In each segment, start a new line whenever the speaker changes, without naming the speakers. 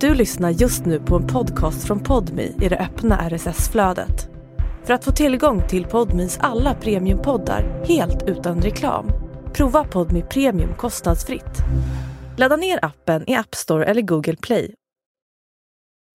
Du lyssnar just nu på en podcast från Podmi i det öppna RSS-flödet. För att få tillgång till Podmis alla premiumpoddar helt utan reklam, prova Podmi Premium kostnadsfritt. Ladda ner appen i App Store eller Google Play.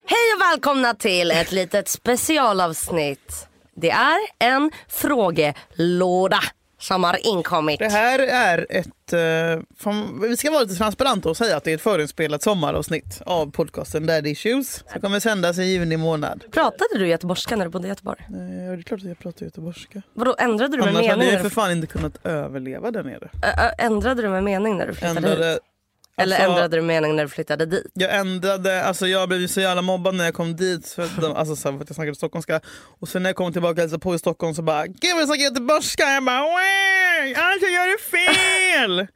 Hej och välkomna till ett litet specialavsnitt. Det är en frågelåda som har inkommit.
Det här är ett... eh, fan, vi ska vara lite transparenta och säga att det är ett förinspelat sommaravsnitt av podcasten Daddy Issues som kommer sändas i juni månad.
Pratade du göteborgska när du bodde i Göteborg?
Eh, Ja, det är klart att jag pratar göteborgska.
Vadå, ändrade du med
Annars hade
mening?
jag
När
för
du,
fan inte kunnat överleva där nere.
Ö, ö, ändrade du med mening när du flyttade hit?
Ändrade,
Eller
alltså-
ändrade du mening när du flyttade dit?
jag ändrade, alltså jag blev ju så jävla mobbad när jag kom dit för att, de, alltså, så här, för att jag snackade stockholmska. Och sen när jag kom tillbaka och hälsade på i Stockholm så bara “Gud vad jag snackar göteborgska!” Jag bara "Wah, “Allt jag gör är fel!”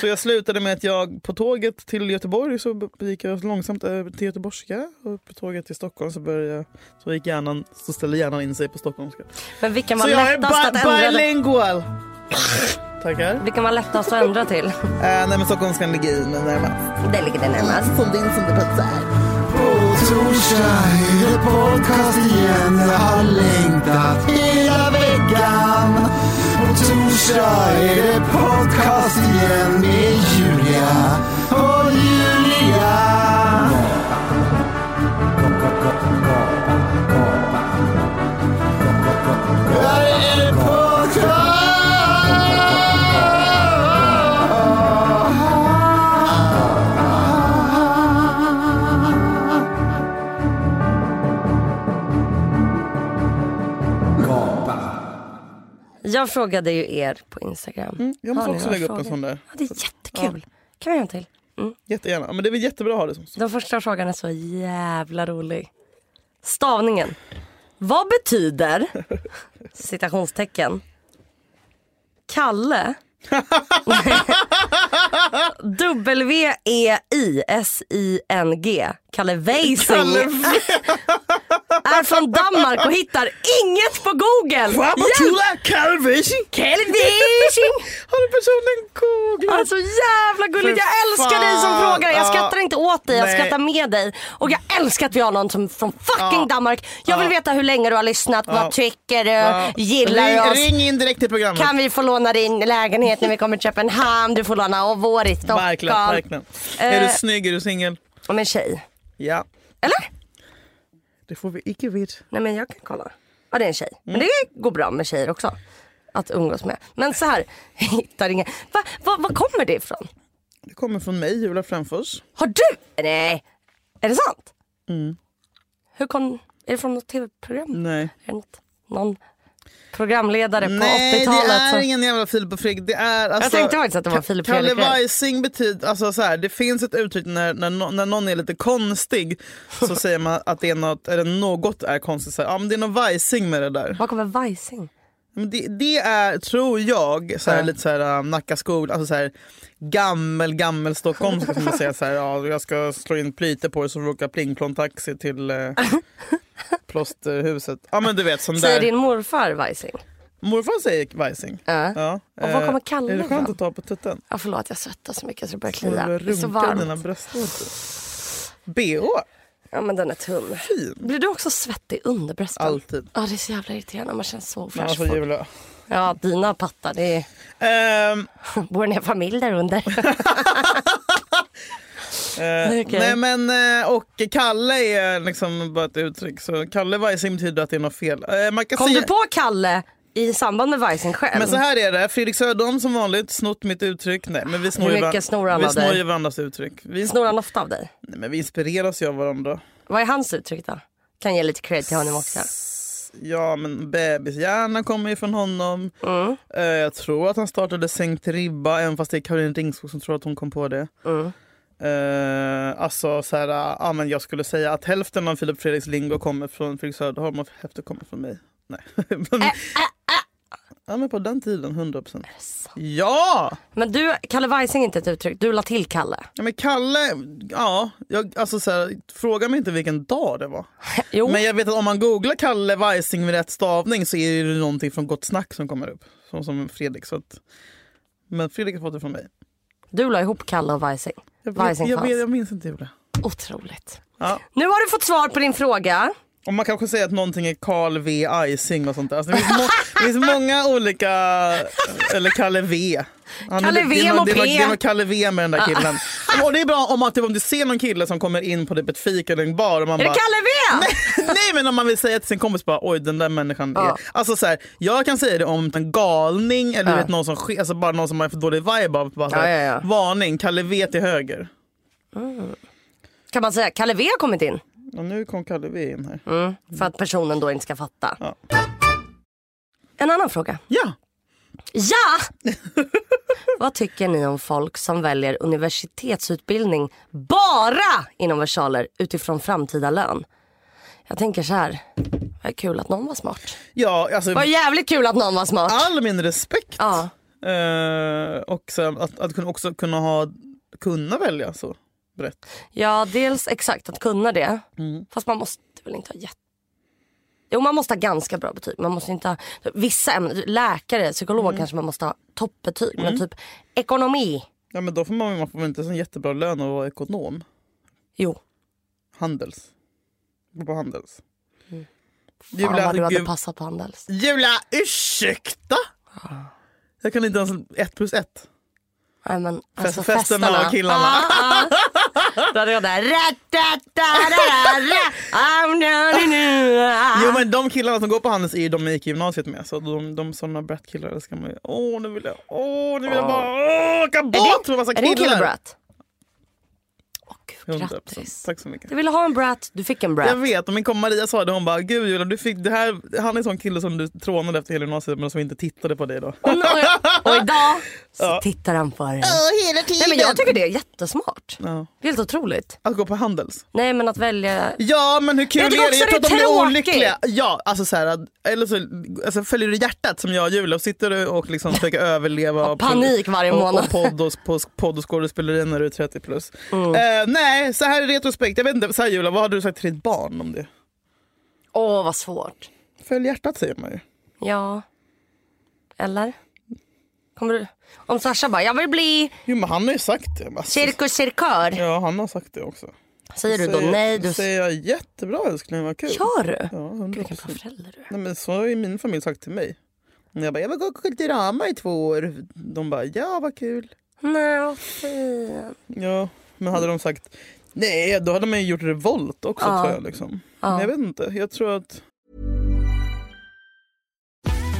Så jag slutade med att jag på tåget till Göteborg så b- gick jag långsamt över till göteborgska. Och på tåget till Stockholm så, började jag, så, gick hjärnan, så ställde hjärnan in sig på stockholmska.
Men vilken var
Så jag är
lättast att
ba-
ändra?
bilingual! Tackar.
Vilken var lättast att ändra till?
Eh, nej men stockholmskan ligger i mig närmast.
Det ligger det närmast.
Som din som det passar.
Torsdag är det podcast igen Jag har längtat hela veckan På torsdag är det podcast igen Med Julia och Julia Där är det podcast
Jag frågade ju er på Instagram.
Jag måste
Har ni
också
några
lägga upp en
frågor?
sån där.
Ja, det är jättekul. Kan vi göra en till?
Jättegärna. Men det är väl jättebra att ha det som så.
Den första frågan är så jävla rolig. Stavningen. Vad betyder citationstecken Kalle E W-E-I-S-I-N-G Kalle Weising är från Danmark och hittar inget på google.
Papatula Calvation!
Kalle Weising
Har den personen
Han är
googlat?
så jävla gullig.
För
Jag älskar dig som
fan.
frågar. Jag
Ja.
skrattar inte åt dig, jag
Nej.
skrattar med dig. Och jag älskar att vi har någon som från fucking
Ja.
Danmark. Jag vill
Ja.
veta hur länge du har lyssnat, vad tycker du, gillar du
ring,
oss?
Ring in direkt till programmet.
Kan vi få låna din lägenhet när vi kommer till Köpenhamn? Du får låna och vår i Stockholm.
Verkligen, verkligen. Är du
Eh.
snygg? Är du singel?
Men tjej.
Ja.
Eller?
Det får vi icke veta.
Nej men jag kan kolla. Ja det är en tjej. Men
Mm.
det går bra med tjejer också. Att umgås med. Men så här, hittar ingen. Va, va, vad kommer det ifrån?
Det kommer från mig, Julia Fränfors.
Har du? Nej. Är det sant?
Mm.
Hur kom... Är det från något tv-program?
Nej.
Är det något- Någon programledare på
Nej,
80-talet?
det är
som-
ingen jävla Filip och Fredrik. Det är, alltså,
tänkte faktiskt att det var
Ka-
Filip och
Kalle
Fredrik.
Weising betyder, alltså, så här, det finns ett uttryck när, när, no- när någon är lite konstig så säger man att det är något, eller något är konstigt. Så här, ja, men det är någon Weising med det där.
Var kommer Vajsing?
Men det, det är, tror jag, så här, lite så här, um, Nacka skol, alltså så här, gammel, gammel Stockholm ska man säga så här, ja, jag ska slå in plyte på det så får du åka plingplong taxi till eh, plåsterhuset. Ja men du vet sån
Säger
där.
din morfar Vajsing?
Morfar säger Weising.
Ja.
Ja.
Och var
eh,
kommer Kalle
Är det skönt
ifrån?
att ta på tutten?
Ja, förlåt jag svettas så mycket så det börjar
Får du
klia. Det är så
runka i dina
varmt.
bröstvårtor? BH,
Ja men den är tunn.
fin.
Blir du också svettig under brösten?
Alltid.
Ja det är så jävla irriterande. Man känns så
Men
ofräsch.
alltså, Julia.
ja dina pattar, det är...
Ehm,
bor en hel familj där under.
Eh,
Okej.
Nej men eh, och Kalle är liksom bara ett uttryck. Så Kalle Weising betyder att det är något fel. Eh, man kan
Kom
säga,
du på Kalle i samband med Vajsing själv?
Men så här är det, Fredrik Söderholm som vanligt snott mitt uttryck. Nej men vi snor,
Hur
ju,
mycket snor han
vi
av dig?
snor ju varandras uttryck. Vi,
Snor han ofta av dig?
nej, men vi inspireras ju av varandra.
Vad är hans uttryck då? Kan ge lite cred till honom också.
Ja men bebishjärnan kommer ju från honom. Eh, jag tror att han startade Sänkt ribba även fast det är Caroline Ringskog som tror att hon kom på det. Eh, alltså så här, ja, men jag skulle säga att hälften av Filip Fredriks lingo kommer från Fredrik Söderholm och hälften kommer från mig. Nej. men, Ja men på den tiden 100%. Ja!
Men du, Kalle Weising är inte ett uttryck. Du la till Kalle.
ja! Men Kalle, ja, jag, alltså så här, fråga mig inte vilken dag det var.
Jo,
Men jag vet att om man googlar Kalle Weising med rätt stavning så är det någonting från Gott Snack som kommer upp. Som, som Fredrik. Så att, men Fredrik har fått det från mig.
du la ihop Kalle och Weising.
Jag,
Weising
jag, jag,
fanns.
jag minns inte hur det.
Otroligt.
Ja.
Nu har du fått svar på din fråga.
Och man kanske säger att någonting är Carl V Icing och sånt där. Alltså, det, finns må- det finns många olika, eller Kalle V. Han,
Kalle
det-
V, Ah.
det, är någon- det, var,
moped.
det var Kalle V med den där killen. Och det är bra om, man, typ, om du ser någon kille som kommer in på typ ett fik eller en bar och man
Är det
bara
Kalle V?
Nej men om man vill säga till sin kompis bara oj den där människan
Ja.
är... Alltså så här, jag kan säga det om en galning eller du
Ja.
vet, någon som ske- alltså, bara någon som har för dålig vibe av. Bara, så
Ja,
här,
ja, ja.
Varning, Kalle V till höger.
Kan man säga Kalle V har kommit in?
Och nu kom Kalle V in här.
Mm. För att personen då inte ska fatta.
Ja.
En annan fråga.
Ja,
Ja! Vad tycker ni om folk som väljer universitetsutbildning bara inom versaler utifrån framtida lön? Jag tänker så här. Vad kul att någon var smart.
ja alltså,
Vad jävligt kul att någon var smart.
all min respekt.
Ja.
Eh, och sen att, att kunna också kunna, ha, kunna välja så brett.
Ja, dels exakt att kunna det. Fast man måste väl inte ha jätte... Jo, man måste ha ganska bra betyg. Man måste inte ha... Vissa ämnen, läkare, psykolog kanske man måste ha toppbetyg. Men typ ekonomi.
Ja, men då får man, man får väl inte så jättebra lön att vara ekonom.
Jo,
Handels. Gå på Handels.
Mm. fan vad du hade
gud-
passat på Handels.
Julia, ursäkta? Jag kan inte ens ett plus ett.
Nej, men, alltså,
festerna och killarna.
Ah, ah. Då hade jag där... "Ra, da, da, da, da, ra, am, na, ni, nu, ah."
Jo men de killarna som går på Handels är ju de jag gick i gymnasiet med. Så de, de sådana brat-killar älskar man ju. Åh nu vill jag, åh nu vill jag bara åh, åka
Är
båt
din-
med massa
Är din kille
killar.
brat? Åh, gud,
100%.
grattis.
Tack så mycket.
Du ville ha en brat, du fick en brat.
Jag vet, och min kompis Maria sa det. Hon bara, gud Julia, du fick, det här, han är en sån kille som du trånade efter hela gymnasiet men som inte tittade på dig då.
Och, och, och idag så
Ja.
tittar han på dig. Nej, men jag tycker det är jättesmart.
Ja.
Helt otroligt.
Att gå på Handels.
Nej men att välja.
Ja men hur kul
Jag
är
tycker
det? Jag
också det är
tror att de är
tråkigt.
olyckliga. Ja, alltså så här, att- eller så alltså, följer du hjärtat som jag och Julia och sitter du och liksom försöker överleva. Och
panik varje
och,
månad. Mm.
Och podd och, på, podd och skådespeleri när du är 30 plus. Eh, nej, så här i retrospekt. Jag vet inte, så här Julia, vad hade du sagt till ditt barn om det?
Åh vad svårt.
Följ hjärtat säger man ju.
Ja. Eller? Kommer du? Om Sasha bara, jag vill bli
Jo men han har ju sagt det. Alltså.
cirkus cirkör.
Ja han har sagt det också.
Säger du då
Säger-
nej? Du...
Säger jag jättebra älskling, vad kul.
Gör du?
Ja, 100%.
Vilken bra förälder du är.
Nej, men så har ju min familj sagt till mig. Jag bara, jag var gå på Kulturama i två år. De bara, ja vad kul.
Nej vad fin.
Ja, men hade de sagt nej, då hade man ju gjort revolt också
Ja.
tror jag. Liksom.
Ja.
Men jag vet inte, jag tror att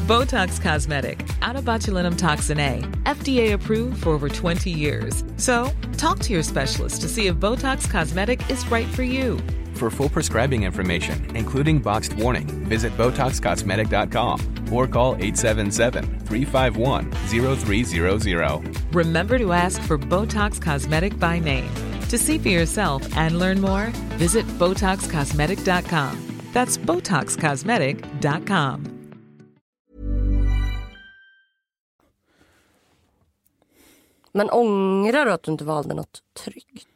Botox Cosmetic, out of botulinum toxin A, FDA approved for over 20 years. So, talk to your specialist to see if Botox Cosmetic is right for you.
For full prescribing information, including boxed warning, visit BotoxCosmetic.com or call 877-351-0300.
Remember to ask for Botox Cosmetic by name. To see for yourself and learn more, visit BotoxCosmetic.com. That's BotoxCosmetic.com.
Men ångrar du att du inte valde något tryggt?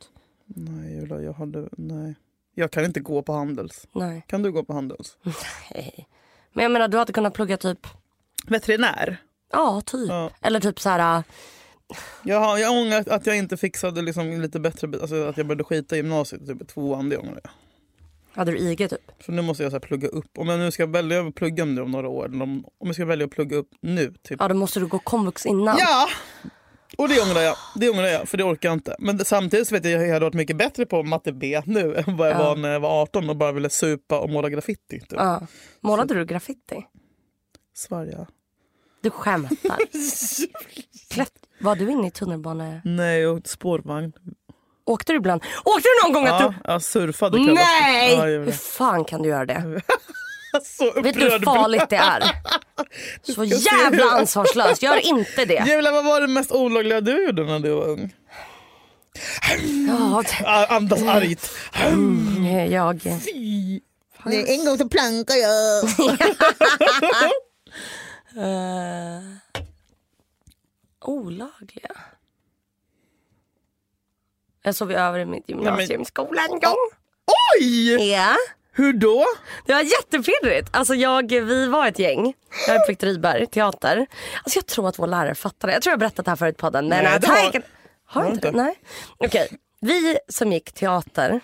nej, Julia, jag hade, nej. Jag kan inte gå på Handels.
Nej.
Kan du gå på Handels?
Men jag menar du hade kunnat plugga typ,
Veterinär?
ja typ.
Ja.
Eller typ så här.
Jag, har, jag ångrar att jag inte fixade liksom lite bättre, be- alltså att jag började skita i gymnasiet typ i tvåan. Det ångrar jag.
hade du IG typ?
För nu måste jag så här plugga upp. Om jag nu ska välja att plugga nu om några år, eller om, om jag ska välja att plugga upp nu. Typ.
Ja då måste du gå komvux innan.
Ja! Och det ångrar jag, det ångrar jag för det orkar jag inte. Men det- samtidigt så vet jag att jag hade varit mycket bättre på matte B nu än vad jag
Ja.
var när jag var 18 och bara ville supa och måla graffiti. Typ.
Ja. Målade du graffiti?
Sverige.
Du skämtar. Klätt... Var du inne i tunnelbane...
Nej, och spårvagn.
Åkte du ibland? Åkte du någon gång att
Ja,
du...
jag surfade kallas det.
Nej!
Ja, jag
Hur
vet.
fan kan du göra det?
Så
Vet du hur
upprörd.
farligt det är? Så
se
jävla
hur-
ansvarslöst. Gör inte det.
Julia, vad var det mest olagliga du gjorde när du var ung?
Ja, Mm.
Ah, Andas argt.
det- jag...
En gång så plankade jag.
Eh, olagliga? Jag sov ju över i mitt gymnasiumskola en gång.
Oj!
Ja.
Hur då?
Det var jättepirrigt. Alltså jag, vi var ett gäng. Jag är på Victor Rydberg teater. Alltså jag tror att vår lärare fattade. Jag tror jag har berättat det här förut i podden. Men
Nej,
att
det har-
han- Har du inte? det? Nej. Okej. Vi som gick teater,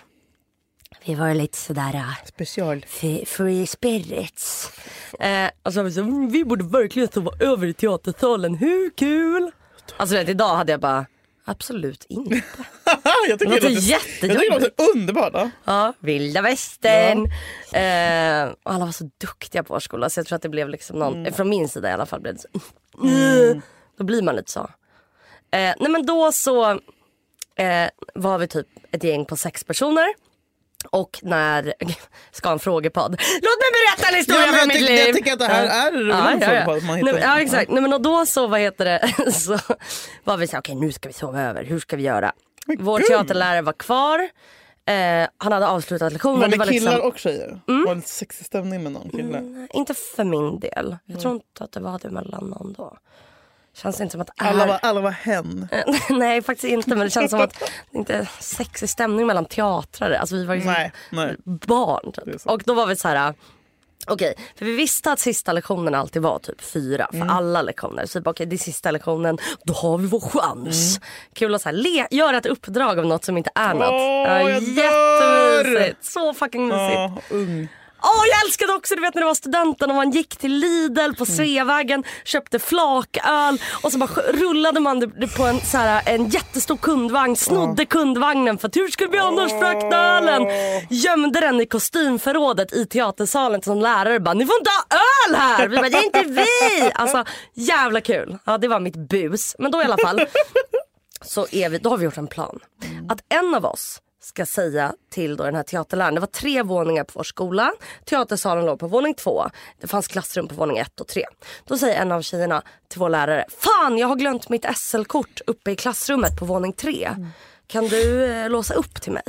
vi var lite sådär äh,
Special.
f- free spirits. Eh, och så var vi så, "Mm, vi borde verkligen sova över i teatersalen, hur kul? Alltså vet, idag hade jag bara, absolut inte.
jag tycker
Det låter
det låter, jag tycker det
jättejobbigt.
låter underbart. då.
Ja, vilda västern. Eh, och alla var så duktiga på vår skola så jag tror att det blev liksom någon, från min sida i alla fall blev det så. Då blir man lite så. Eh, nej men då så eh, var vi typ ett gäng på sex personer. Och när, ska en frågepodd. Låt mig berätta en historia
Ja, men
från
jag
mitt
tycker-
liv.
jag tycker att det här är en rolig frågepodd man hittar.
Nej, men- ja exakt. Nej, men och då så, vad heter det, så var vi så här, okej nu ska vi sova över, hur ska vi göra? Vår teaterlärare var kvar, eh, han hade avslutat lektionen.
Var det
var
killar
liksom, Mm.
och tjejer? Var det lite sexig stämning med någon kille?
Inte för min del, jag tror inte att det var det mellan någon då. Känns inte som att
Alla,
är-
var, alla var hen.
Mm. Nej faktiskt inte men det känns som att det inte är sexig stämning mellan teatrare. Alltså vi var ju som
Nej, nej.
barn. Typ.
sant.
Och då var vi så här. äh, Okej, för vi visste att sista lektionen alltid var typ fyra
Mm.
för alla lektioner. Så vi bara okej det är sista lektionen, då har vi vår chans. Kul att så här, le, göra ett uppdrag av något som inte är något.
Mm. Åh,
Ja,
jag dör!
Jättemysigt, så fucking mysigt.
Ja, ung.
Åh, jag älskade också du vet när det var studenten och man gick till Lidl på Sveavägen, köpte flaköl och så bara sk- rullade man det- det på en, så här, en jättestor kundvagn, snodde kundvagnen för att hur skulle vi annars frakta ölen? Gömde den i kostymförrådet i teatersalen som lärare bara, ni får inte ha öl här! Vi bara, det är inte vi! Alltså jävla kul. Ja det var mitt bus. Men då i alla fall så är vi, då har vi gjort en plan. Att en av oss ska säga till då den här teaterläraren, det var tre våningar på vår skola, teatersalen låg på våning två, det fanns klassrum på våning ett och tre. Då säger en av tjejerna till vår lärare, fan jag har glömt mitt SL-kort uppe i klassrummet på våning tre. Kan du eh, låsa upp till mig?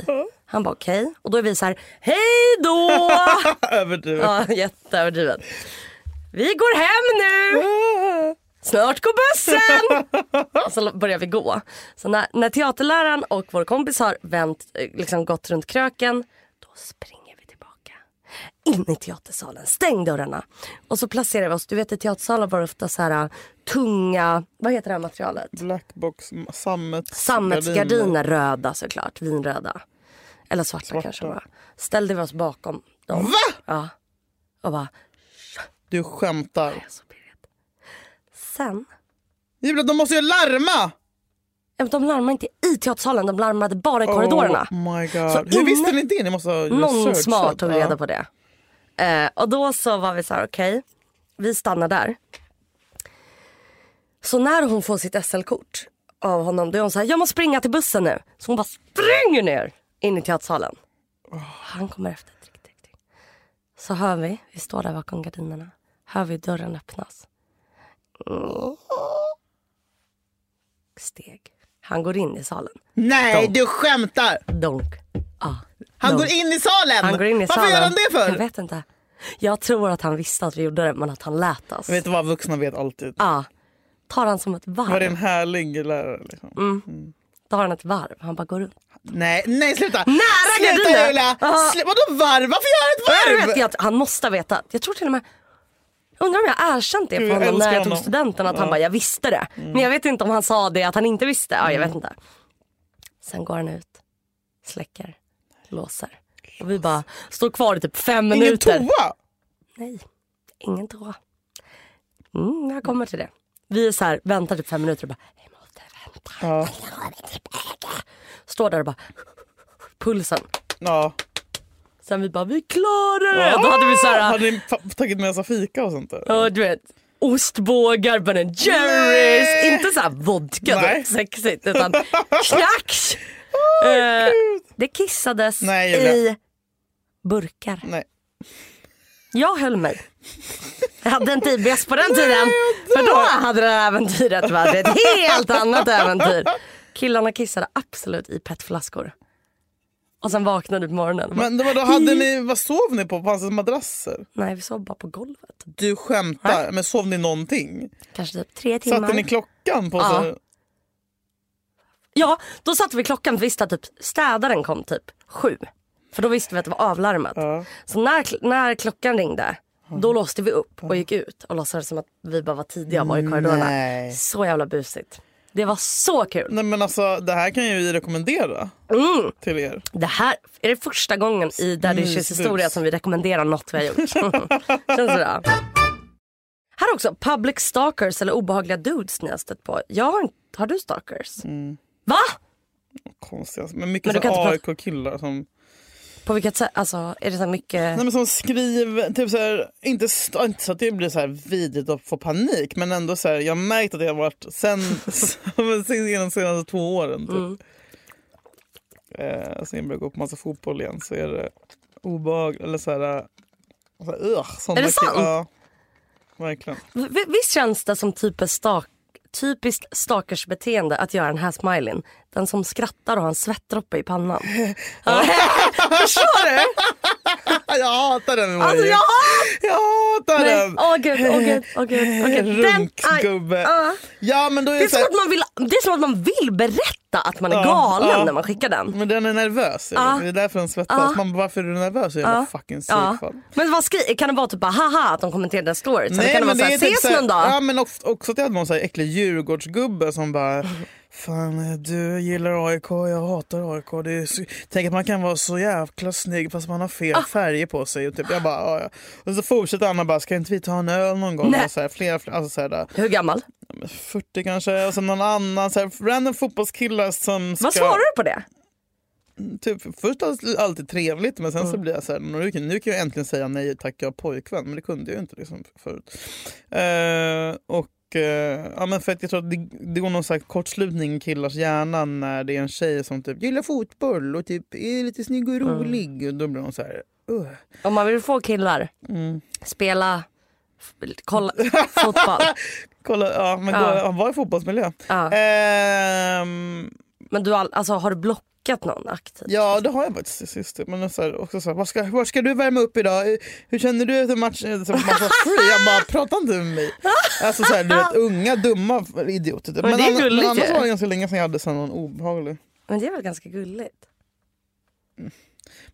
Han bara okej. Och då är vi så här, hej då!
Överdrivet.
ja, jätteöverdrivet. Vi går hem nu! Snart går bussen! Och så börjar vi gå. Så när, när teaterläraren och vår kompis har vänt, eh, liksom gått runt kröken, då springer vi tillbaka. In i teatersalen, stäng dörrarna. Och så placerar vi oss, du vet i teatersalen var det ofta så här eh, tunga, vad heter det här materialet?
Blackbox, sammets,
Sammetsgardiner, röda såklart, vinröda. Eller svarta,
Svarta.
kanske bara. Ställde vi oss bakom dem. Va? Ja. Och bara,
Du skämtar.
alltså Birgit. Sen
Julia, de måste ju larma!
Ja, men De larmade inte i teatersalen, de larmade bara i korridorerna.
Oh my
Så
god. Hur
inne-
visste ni det? Ni måste ha
Någon
researchat.
smart tog reda
Ja.
på det. Eh, och då så var vi så här, okej, vi stannar där. Så när hon får sitt SL-kort av honom, då är hon så här, jag måste springa till bussen nu. Så hon bara springer ner in i teatersalen. Han kommer efter. Tick, tick, tick. Så hör vi, vi står där bakom gardinerna, hör vi dörren öppnas. Steg. Han går in i salen.
Nej, du skämtar!
Donk. Ah.
Han
donk.
går in i salen!
Han går in i
Varför
salen.
gör han det
Jag
för?
vet inte. Jag tror att han visste att vi gjorde det men att han lät oss.
Jag vet vad vuxna vet alltid.
Ja. Tar han som ett
Var det en
varv.
härlig lärare? Liksom?
Tar han ett varv. Han bara går runt.
Nej, nej sluta!
Nära
sluta
gardiner.
Julia!
Ja.
Sl- vadå varv? Varför gör han ett varv?
Jag vet, jag, han måste ha vetat. Jag tror till och med Undrar om jag har erkänt det för
Gud, jag
honom när
älskar
jag tog
honom.
studenten att han bara jag visste det. Men jag vet inte om han sa det att han inte visste. Ja, jag vet
Mm.
inte. Sen går han ut, släcker, låser. Och vi bara står kvar i typ fem
Ingen
minuter.
toa!
Nej, ingen toa. Mm, jag kommer till det. Vi är så här, väntar typ fem minuter och bara, jag måste vänta.
Ja.
Står där och bara, pulsen.
Ja.
Sen vi bara, vi klarar det! Då hade vi så här,
Hade ni fa- tagit med oss fika och sånt där?
ja, du vet, ostbågar, Ben Jerrys.
Nej.
Inte så här vodka,
Nej.
då, sexigt, utan knacks. Eh, det kissades
Nej, Julia.
i burkar.
Nej.
Jag höll mig. Jag hade inte IBS på den tiden. För då hade det här äventyret varit ett helt annat äventyr. Killarna kissade absolut i petflaskor. Och sen vaknade du på morgonen. och bara,
Men vadå, hade ni, vad sov ni på? Fanns det madrasser?
Nej vi sov bara på golvet.
Du skämtar, men sov ni någonting?
Kanske typ tre timmar.
Satte ni klockan på?
Ja.
Så...
Ja då satte vi klockan för vi visste att typ städaren kom typ sju. För då visste vi att det var avlarmat.
Ja.
Så när, när klockan ringde då låste vi upp och gick ut och låtsades som att vi bara var tidiga och var i korridorerna.
Nej.
Så jävla busigt. Det var så kul.
Nej men alltså det här kan ju vi rekommendera
Mm.
till er.
Det här är det första gången i Daddy's
Mysbus.
historia som vi rekommenderar något vi har gjort. Känns bra. Här också, public stalkers eller obehagliga dudes ni har stött på. Jag har, inte- har du stalkers? Va?
Konstiga, men
Men
mycket
du
så
kan inte prata-
AIK-killar som,
På vilket sätt? Alltså är det så här mycket...
nej, men som skriver, typ så här, inte, st- inte så att det blir så här vidrigt att få panik men ändå så här, jag har märkt att det har varit sen, sen, sen genom de senaste två åren. Typ.
Mm.
Eh, sen jag började gå på massa fotboll igen så är det obehagligt. Eller så här, eh, så här, ugh, såna
Är det
killar.
sant?
Ja, verkligen.
V- visst känns det som typiskt, stalk, typiskt stalkersbeteende att göra den här smileyn? Den som skrattar och har en svettdroppe i pannan. Förstår du?
Ah, Jag hatar den
Alltså
emojin.
jag
Jag hatar
Nej,
den! Eh,
åh gud, åh gud, åh gud. åh gud. Den- aj,
Runkgubbe.
ah.
Ja men då är
Det är,
det så
som
här,
att man vill, det är som att man vill berätta att man är
Ja,
galen
ja. Mm,
när man skickar den.
men den är nervös.
Ja.
Det är därför den svettas.
Ja.
Man bara, varför är du nervös? Jag bara, fucking
Ja.
psykfall.
Men vad skri- kan det vara typ bara haha att de kommenterade stories? Eller kan det vara såhär,
typ
ses
så här-
någon dag?
Ja men ofta, också att jag hade någon så här äcklig djurgårdsgubbe som bara Fan eh, du gillar AIK, jag hatar AIK. Det är så... Tänk att man kan vara så jävla snygg fast man har fel
Ah.
färger på sig. Och typ, jag bara, ja, ja. Och så fortsätter han och bara, ska inte vi ta en öl någon gång?
Nej.
Och så här, flera, flera, alltså så här, där,
Hur gammal?
40 kanske. Och sen någon annan, så här, random fotbollskillar som ska...
Vad svarar du på det?
typ, först all- alltid trevligt men sen så blir jag så här, nu, kan- nu kan jag äntligen säga nej tack jag har pojkvän men det kunde jag ju inte liksom förut. Eh, och eh, Ja, men för att jag tror att det, det går någon så här kortslutning i killars hjärna när det är en tjej som typ gillar fotboll och typ är lite snygg och rolig. Och då blir de så här... "Ugh."
Om man vill få killar,
Mm.
spela, f- kolla fotboll.
Kolla, ja, men
Ja.
Gå, ja, var i fotbollsmiljö.
Ja.
Ehm,
Men du, all- alltså, har du blockat någon aktivt?
Ja, det har jag faktiskt till sist. Men så här, också så här, vad, ska, vad ska du värma upp idag? Hur- Hur känner du efter matchen? Så massa free. Jag bara, prata inte med mig. Alltså så här, du vet, unga dumma idioter. Men,
det är
anna- men
gulligt ju.
annars var det ganska länge sedan jag hade sån någon obehaglig.
Men det är väl ganska gulligt?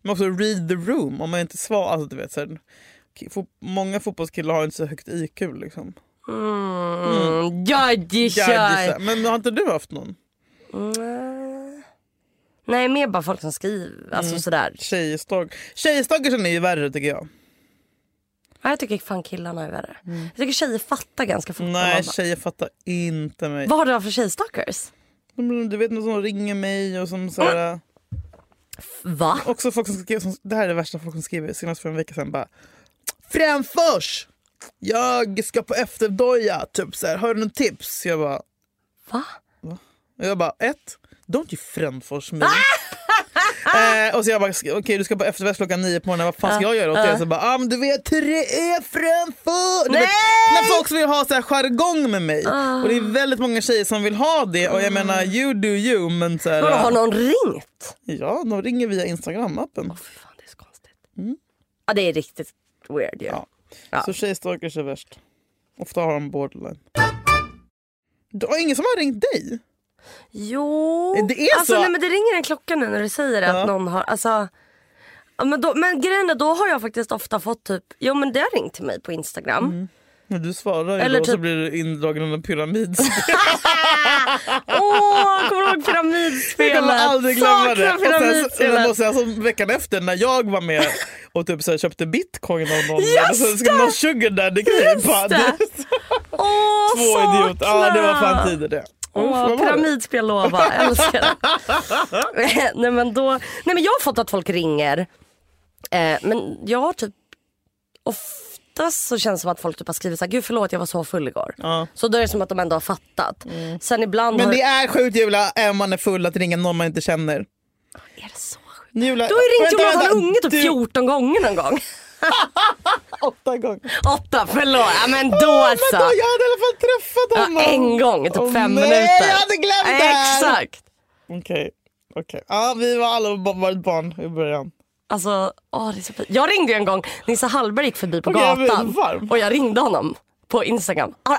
Men också read the room om man inte svarar. Alltså, du vet, så här, ki- fo- många fotbollskillar har inte så högt IQ liksom.
Mm. Gaddisar!
Gaddisar. Men har inte du haft någon
Mm. Nej, mer bara folk som skriver. Alltså
Mm.
sådär.
tjejstalker? Tjejstalkersen är ju värre tycker jag.
Ja, jag tycker fan killarna är värre. Jag tycker tjejer fattar ganska fort. när man
Nej,
bara,
tjejer fattar inte mig.
Vad har du haft för tjejstalkers?
De- Du vet någon som ringer mig och som så här,
Va?
Också folk som skriver, som, det här är det värsta folk som skriver senast för en vecka sedan bara Framförs! Jag ska på efterdoja, typ så här, har du någon tips? Jag bara,
Va?
jag bara ett, don't you framförs me. eh, och så jag bara, okej du ska på efterfest klockan nio på morgonen, vad fan ska jag göra åt det? Så bara, ah, men du vet hur det är framför! Du
Nej! Ah.
Vet, när folk vill ha så här jargong med mig. Och det är väldigt många tjejer som vill ha det och jag menar you do you men så här,
Vadå, Ah. har någon ringt?
ja de ringer via instagram-appen.
Åh, fy fan, det är så konstigt. Ja, det är riktigt weird ju.
Mm. Ja.
Ja.
Så tjejstalkers är värst. Ofta har de borderline. Det var ingen som har ringt dig?
Jo.
Det är
alltså,
så.
Nej, men det ringer en klocka nu när du säger det,
Ja.
att någon har... Alltså, ja, men, då, men grejen är, då har jag faktiskt ofta fått typ... Jo, men det har ringt till mig på Instagram.
Mm. Men du svarar ju
Eller
då så
typ-
blir du indragen i en pyramid.
Åh, kommer du ihåg
Jag
pyramidspelet?
kommer aldrig glömma det.
Saknar
Och sen, så-
pyramidspelet.
och sen så veckan efter när jag var med och typ så här, köpte bitcoin av någon.
Just
och så ska någon sugar daddy
Just det. Åh,
Två
saknar!
idioter. Ja det var fan tider det. Uff,
Åh,
vad var det?
pyramidspel lova, jag älskar det. nej, men då, nej men jag har fått att folk ringer. Eh, men jag har typ oftast så känns det som att folk typ har skrivit såhär, gud förlåt jag var så full igår.
Ja. Mm.
Så då är det som att de ändå har fattat. Sen ibland
Men
har,
det är sjukt Julia, även om man är full, att ringa någon man inte känner.
är det så sjukt?
Julia,
Du har ju ringt
vänta,
Jonathan
vänta.
Unge typ
Du-
14 gånger någon gång.
Åtta gånger.
Åtta, förlåt. Ja men då
Åh, men
alltså.
då, jag hade i alla fall träffat
Ja,
honom.
en gång, typ
Åh,
fem
nej,
minuter.
jag hade glömt det här.
Exakt.
Okej. okej. Ja, vi var alla ba- varit barn i början.
Alltså, åh, det är så fint. Jag ringde ju en gång, Nisse Hallberg gick förbi på
Okej, jag blir
gatan
varm.
och jag ringde honom på Instagram. Jag har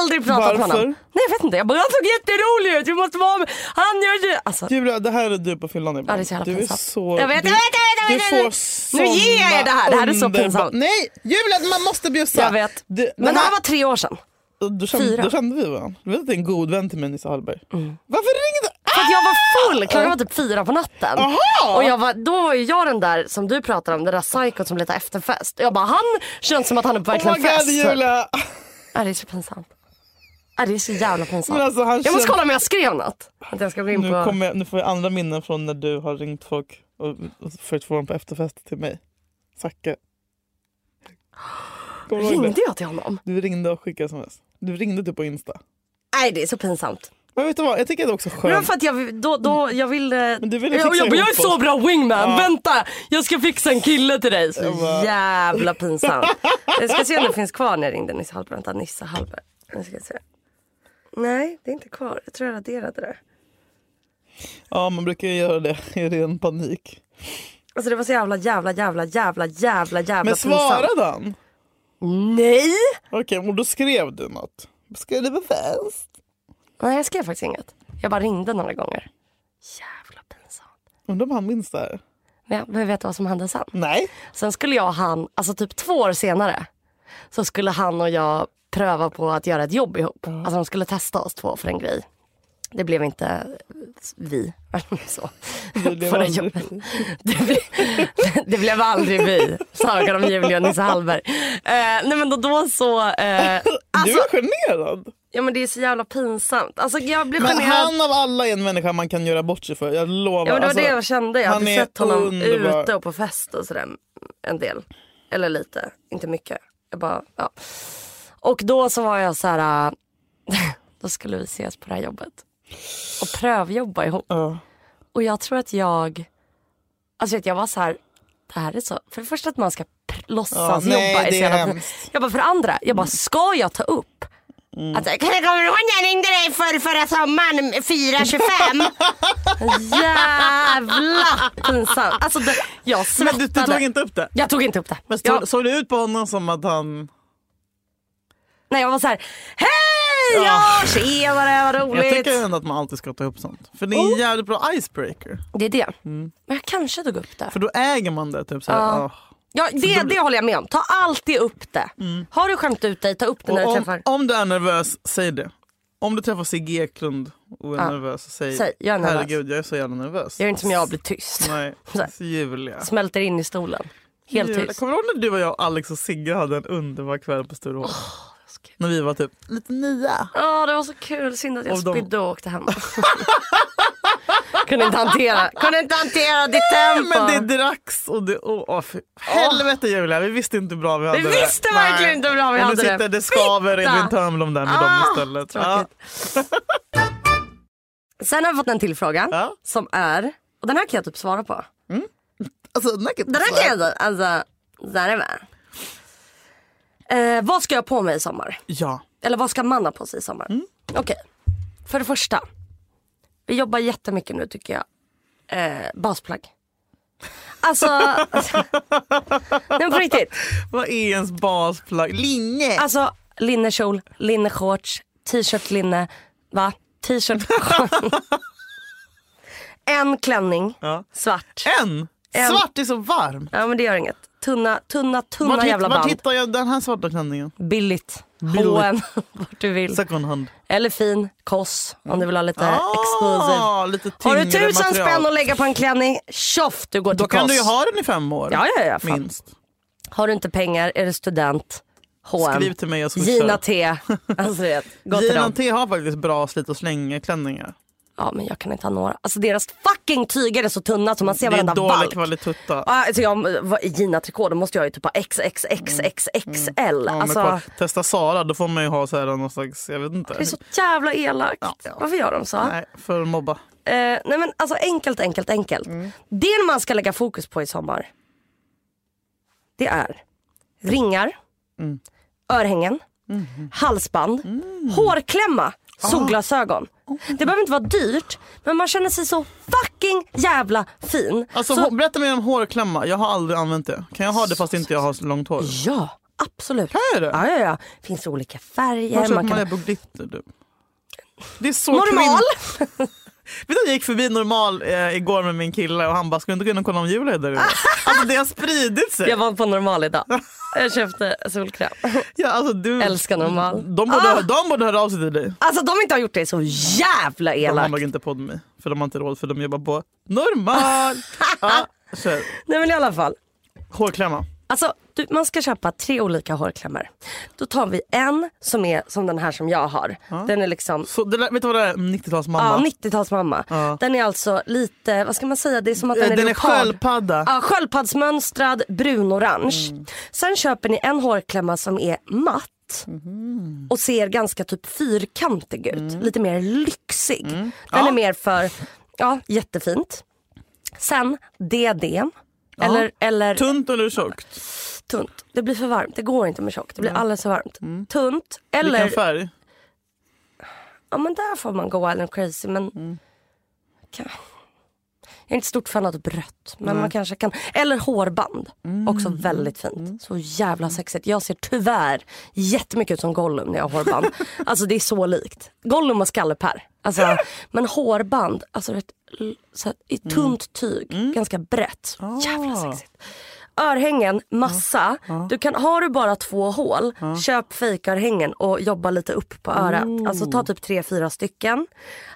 aldrig pratat med
Varför?
honom. Nej jag vet inte, jag bara han såg jätterolig ut, vi måste vara med. Han gör det. Alltså,
Julia, det här är du på fyllan
ja,
ibland.
det är så jävla
du är
pinsamt.
så...
jag vet,
du,
jag vet, jag vet, jag
Du
vet.
får
Nu ger jag er det här, det här är så
såna underbar-
pinsamt.
Nej, Julia man måste bjussa.
Jag vet.
Du,
Men det här var tre år sedan.
då, då, kände,
Fyra. Mm.
då kände vi varandra. Du vet att det är en god vän till mig, Nisse Hallberg. Varför ringde
För att jag var full, klockan var typ fyra på natten.
Aha!
Och jag var, då var ju jag den där som du pratade om, den där psykot som letar efterfest. Jag bara, han känns som att han är på verkligen
Oh my god
fest.
Julia!
Ja, det är så pinsamt. Ja, det är så jävla pinsamt.
Men alltså, han
jag måste
känns-
kolla om jag skrev något. Att jag ska gå in
Nu,
på...
kommer jag, nu får jag andra minnen från när du har ringt folk och, och försökt få dem på efterfest till mig. Zacke. Kommer du ihåg det?
Ringde jag till honom?
Du ringde och skickade sms. Du ringde typ på Insta.
Nej, det är så pinsamt.
Men vet du vad, jag tycker det är också
Men Det var
skönt.
för att jag, då, då, jag ville...
Men du ville
jag,
fixa
jag, bara, jag är
ihop oss.
så bra wingman, vänta! Jag ska fixa en kille till dig. Så
bara-
jävla pinsamt. jag ska se om det finns kvar när jag ringde Nisse Hallberg. Vänta, Nisse Hallberg. Jag ska se. Nej, det är inte kvar. Jag tror jag raderade det.
Ja, man brukar ju göra det i ren panik.
Alltså det var så jävla, jävla, jävla, jävla, jävla, jävla
Men
pinsamt.
svarade han?
Nej!
Okej, och då skrev du något. Ska det vara fest?
Nej, jag skrev faktiskt inget. Jag bara ringde några gånger. Jävla pinsamt.
Undrar om han minns det här?
Men jag men vet du vad som hände sen?
Nej.
Sen skulle jag och han, alltså typ två år senare, så skulle han och jag pröva på att göra ett jobb ihop. Alltså de skulle testa oss två för en grej. Det blev inte vi. så.
blev
för det
aldrig
jobbet. Det, blev, det blev aldrig vi. Sagan om Julia och Nisse Hallberg. Eh, nej men då, då så. Eh,
Du
alltså,
är generad.
ja men det är så jävla pinsamt. Alltså jag blev
Men
generad.
han av alla är en människa man kan göra bort sig för. Jag lovar.
Ja, men det var
Alltså,
det jag kände. Jag hade
han är
sett honom
underbar.
ute och på fest och sådär en del. Eller lite, inte mycket. Jag bara, ja. Och då så var jag så här, äh, då skulle vi ses på det här jobbet. Och prövjobba ihop.
Ja.
Och jag tror att jag, alltså vet, jag var så här, det här är så, för det första att man ska pr- låtsas
nej,
jobba.
det
så
är
jävla-
hemskt.
Jag bara, för det andra, jag bara, ska jag ta upp att jag kommer du ihåg när jag ringde dig för förra sommaren 4.25? Jävla pinsamt. Alltså det, jag
Men du,
svettades.
du tog inte upp det?
Jag tog inte upp det.
Men stod,
jag,
Såg det ut på honom som att han...
nej, jag var så här, hej! Ja, tjenare, vad
Jag
roligt.
tycker ändå att man alltid ska ta upp sånt. För det är en
Oh.
jävligt bra icebreaker.
Det är det. Men jag kanske tog upp det.
Mm. För då äger man det. Typ, såhär, ah.
Ja, det, det håller jag med om. Ta alltid upp det. Har du skämt ut dig, ta upp det när du
Mm. Och om,
träffar.
om du är nervös, säg det. Om du träffar Sigge Eklund och är
Ja.
nervös, säg,
Säg, jag är nervös.
herregud jag är så jävla nervös.
Gör inte som jag, blir tyst.
Nej,
Så här.
Julia.
Smälter in i stolen. Helt
Julia.
tyst.
Kommer du ihåg när du och jag, Alex och Sigge hade en underbar kväll på Sturehof?
kul.
när vi var typ lite nya.
Ja, det var så kul. Synd att jag
Och de-
spydde och åkte hem. Kunde inte hantera, kunde inte hantera ditt tempo.
Men det dracks och det... Oh, oh, för helvete Julia, vi visste inte hur bra vi hade
Vi visste verkligen inte hur bra vi
Men
hade
nu sitter
det.
det skaver i
Fitta!
din törnblom där med
Ah,
dem istället. Ja.
tråkigt. Sen har jag fått en till fråga
Ja.
som är, och den här kan jag typ svara på.
Alltså, den här kan
Den här
jag
kan jag, alltså, så här är det. Eh, vad ska jag ha på mig i sommar?
Ja.
Eller vad ska man ha på sig i sommar?
Mm.
Okej. För det första. Vi jobbar jättemycket nu tycker jag. Eh, basplagg. Alltså. nej men på riktigt.
Vad är ens basplagg? Linne!
Alltså linnekjol, linneshorts, t-shirt, linne. Va? T-shirt, shorts. En klänning.
Ja.
Svart.
en.
en.
Svart är så varm.
Ja men det gör inget. Tunna, tunna, tunna
Vart, hitt,
jävla
vart
band.
hittar jag den här svarta klänningen?
Billigt.
Billigt.
H&M, vart du vill.
Second hand.
Eller fin, koss om du vill ha lite exclusive.
Ah, lite
Har du
tyngre
tusen
material.
spänn att lägga på en klänning, tjoff du går till
Då kan
Koss.
du ju ha den i fem år.
Ja, ja, ja, fan.
Minst.
Har du inte pengar, är du student, H&M,
Skriv till mig jag swishar.
Gina T. Alltså du vet, gå till
Gina
dem.
T har faktiskt bra slit och släng klänningar.
Ja men jag kan inte ha några. Alltså deras fucking tyger är så tunna så man ser
Det är
varenda
dålig
balk.
kvalititutta.
Ah, Alltså jag, vad- i Gina trikå då måste jag ju typ ha XXXXXL.
Mm. Ja, men
alltså,
kolla, Testa Sara, då får man ju ha så här någon slags, jag vet inte.
det är så jävla elakt.
ja.
Varför gör de så?
Nej, för att mobba.
Eh, nej men alltså enkelt, enkelt, enkelt.
Mm.
Det man ska lägga fokus på i sommar. Det är ringar,
Mm.
örhängen,
Mm-hmm.
halsband, hårklämma,
Ah.
solglasögon.
Oh.
Det behöver inte vara dyrt men man känner sig så fucking jävla fin.
Alltså,
så,
hå- Berätta mer om hårklämma, jag har aldrig använt det. Kan jag ha det fast inte jag har så långt hår?
ja, absolut.
Kan jag det?
Ja, ja, ja. Finns olika färger.
Var köper
man
man det
kan...
på glitter? Du? Det är så
Normal!
kvinn- Vet du, jag gick förbi normal eh, igår med min kille och han bara, ska du inte gå in och kolla om Julia är där ute? Alltså det har spridit sig.
Jag var på normal idag. Jag köpte solkräm.
Ja, alltså, du,
Älskar Ah! normal.
De borde, de borde höra av sig till dig.
Alltså de inte har gjort det så jävla
De har
elakt.
nog inte podd med för de har inte råd för de jobbar på normal. ja, kör.
Nej men i alla fall.
Hårklämma.
Alltså, du, man ska köpa tre olika hårklämmar. Då tar vi en som är som den här som jag har. Den är liksom
Så det där, vet du vad det är? 90-talsmamma.
ja, 90-talsmamma.
Ja.
Den är alltså lite, vad ska man säga, det är som att
Eh,
den är
den är
leopard.
sköldpadda. Mm.
Ja, sköldpaddsmönstrad brunorange. Sen köper ni en hårklämma som är matt
Mhm.
och ser ganska typ fyrkantig ut.
Mm.
Lite mer lyxig. Den är mer för, ja jättefint. Sen diadem. Eller, eller
Tunt eller tjockt?
tunt. Det blir för varmt, det går inte med tjockt. Det blir alldeles för varmt. Tunt eller,
Vilken färg?
ja men där får man gå wild and crazy men kan... Jag är inte stort fan av typ rött men man kanske kan, eller hårband. Också väldigt fint. Så jävla sexigt. Jag ser tyvärr jättemycket ut som Gollum när jag har hårband. alltså det är så likt. Gollum och skallepär. Alltså, men hårband, alltså ett, så här, i tunt tyg, ganska brett. Jävla sexigt. Örhängen, massa. Du kan, har du bara två hål, köp fejkörhängen och jobba lite upp på örat.
Mm.
Alltså ta typ tre, fyra stycken.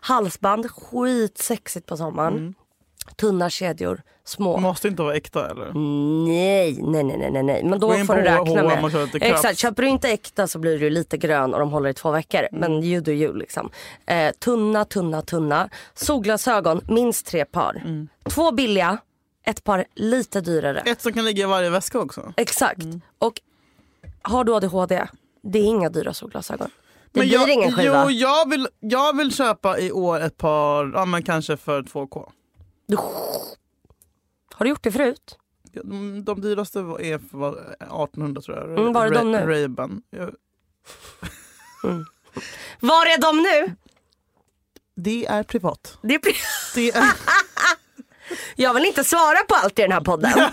Halsband, skitsexigt på sommaren.
Mm.
Tunna kedjor, små.
Måste inte vara äkta eller?
Nej, nej, nej, nej, nej, nej. Men Mm. då
Gå in
får
på
du räkna
H&M
med.
och köp lite
Exakt,
krafts.
köper du inte äkta så blir du lite grön och de håller i två veckor.
Mm.
Men you do you liksom. Eh, tunna, tunna, tunna. Solglasögon, minst tre par.
Mm.
Två billiga, ett par lite dyrare.
Ett som kan ligga i varje väska också.
Exakt.
Mm.
Och har du ADHD, det är inga dyra solglasögon. Det blir
jag,
ingen skiva.
Jo, jag vill, jag vill köpa i år ett par, ja men kanske för 2K.
Har du gjort det förut?
Ja, De, de dyraste var- är för var 1800 tror jag.
Mm, var är de nu?
Ray-Ban. Ja,
Var är de nu?
Det är privat.
Det är...
Det är...
Jag vill inte svara på allt i den här podden.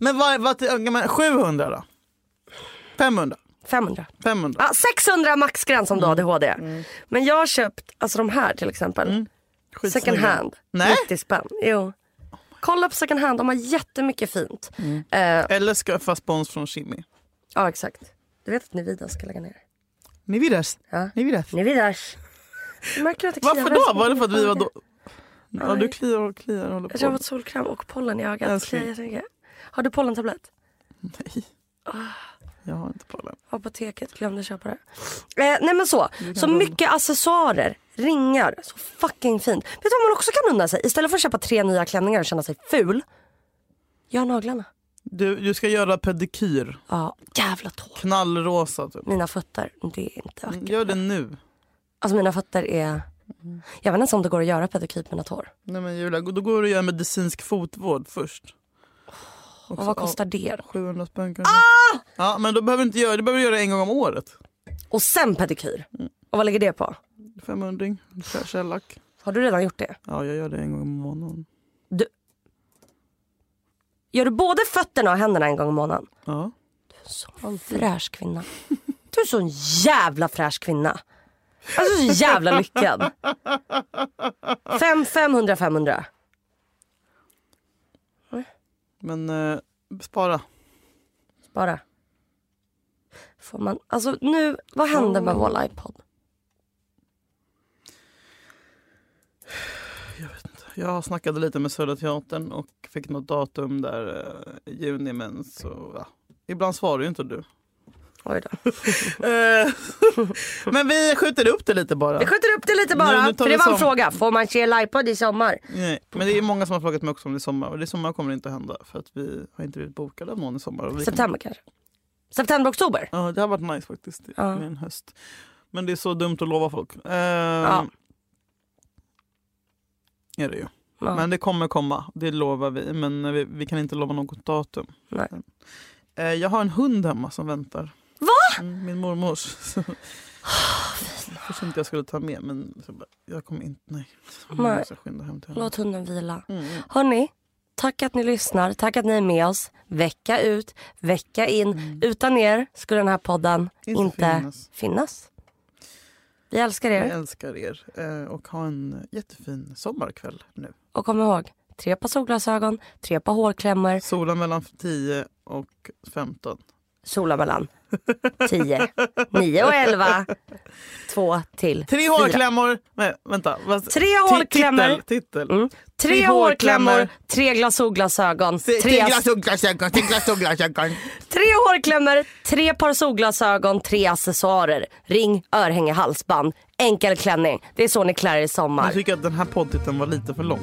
men vad, vad, ja, men 700 då? 500?
500.
500?
Ja, 600 maxgräns om du har
Mm.
ADHD. Men jag har köpt alltså de här till exempel. Second
Skitsnygga.
hand.
Nej.
90 spänn. Jo. Kolla på second hand, de har jättemycket fint.
Mm.
Eh,
Eller skaffa spons från Kimi.
ja exakt. Du vet att Nivida ska lägga ner.
Ni vidas.
Ja.
Ni vidas.
Nividas. Du märker att det kliar
Varför
här
då?
som
Var det
en
för att vi var
öga.
då... Ja, du kliar och kliar och håller
Alltså, Jag har
på.
fått solkräm och pollen i ögat.
Älskling.
Kliar jättemycket. Har du pollentablett?
Nej. Jag har inte pollen.
Apoteket glömde köpa det. Eh, nej men så. Så mycket accessoarer, ringar. Så fucking fint. Vet du vad man också kan unna sig? Istället för att köpa tre nya klänningar och känna sig ful. Gör naglarna.
Du, du ska göra pedikyr.
Ja, jävla tår.
Knallrosa typ.
Mina fötter, det är inte vackert.
Gör det nu.
Alltså mina fötter är...
Mm.
Jag vet inte ens om det går att göra pedikyr på mina tår.
Nej men Julia, då går du och gör medicinsk fotvård först.
Och vad kostar Ah! det då?
700 spänn kanske. Ja, men då behöver du inte göra det. behöver du göra en gång om året.
Och sen pedikyr.
Mm.
Och vad ligger det på?
500 Kör källack.
Har du redan gjort det?
Ja, jag gör det en gång i månaden.
Du... Gör du både fötterna och händerna en gång i månaden?
Ja.
Sån fräsch kvinna. Du är sån jävla fräsch kvinna. Alltså så jävla lyckad. Fem, 500, 500.
Men eh, spara.
Bara. Får man, alltså nu, vad hände med vår iPod?
Jag snackade lite med Södra Teatern och fick något datum där eh, i juni men så ja. Ibland svarar ju inte du.
Oj då.
Eh, men vi skjuter upp det lite bara.
Vi skjuter upp det lite
Nu-
bara,
nu
för
tar
det
vi
var en
som-
fråga. Får man se iPod i sommar?
Nej, men det är många som har frågat mig också om det är sommar och det är sommar kommer det inte att hända för att vi har inte blivit bokade av någon i sommar. Och vi kan-
September kanske? September, oktober?
Ja, det har varit nice faktiskt det-
Ja.
med en höst. Men det är så dumt att lova folk. Ehm, Är det ju.
Ja.
Men det kommer komma, det lovar vi. Men vi, vi kan inte lova något datum.
Nej.
Eh, jag har en hund hemma som väntar.
Va?
Mm, min mormors. Så- Först inte jag skulle ta med men så bara, jag kommer inte, nej.
Nej.
Jag måste skynda hem till henne.
Låt hunden vila.
Mm.
Hörni, tack att ni lyssnar. Tack att ni är med oss vecka ut, vecka in. Utan er skulle den här podden
Mm. Inte
inte,
finnas.
finnas. Vi älskar
Jag
er
älskar er eh, och ha en jättefin sommarkväll nu.
och kom ihåg, tre par solglasögon, tre par hårklämmor,
Solen mellan 10 och 15.
sola mellan 10, 9 och 11, två till
Tre
fyra.
hårklämmor. Nej, vänta. Vad-
Tre
Ti-
hårklämmor.
Titel. titel.
Mm. Tre
Tre
hårklämmor,
hårklämmor.
tre glas solglasögon,
Se-
tre,
glas- solglasögon, till glas- solglasögon.
tre hårklämmor, tre par solglasögon, tre accessoarer. Ring, örhänge, halsband, enkel klänning. Det är så ni klär er i
Alltså,
sommar.
Jag tycker att den här poddtiteln var lite för lång.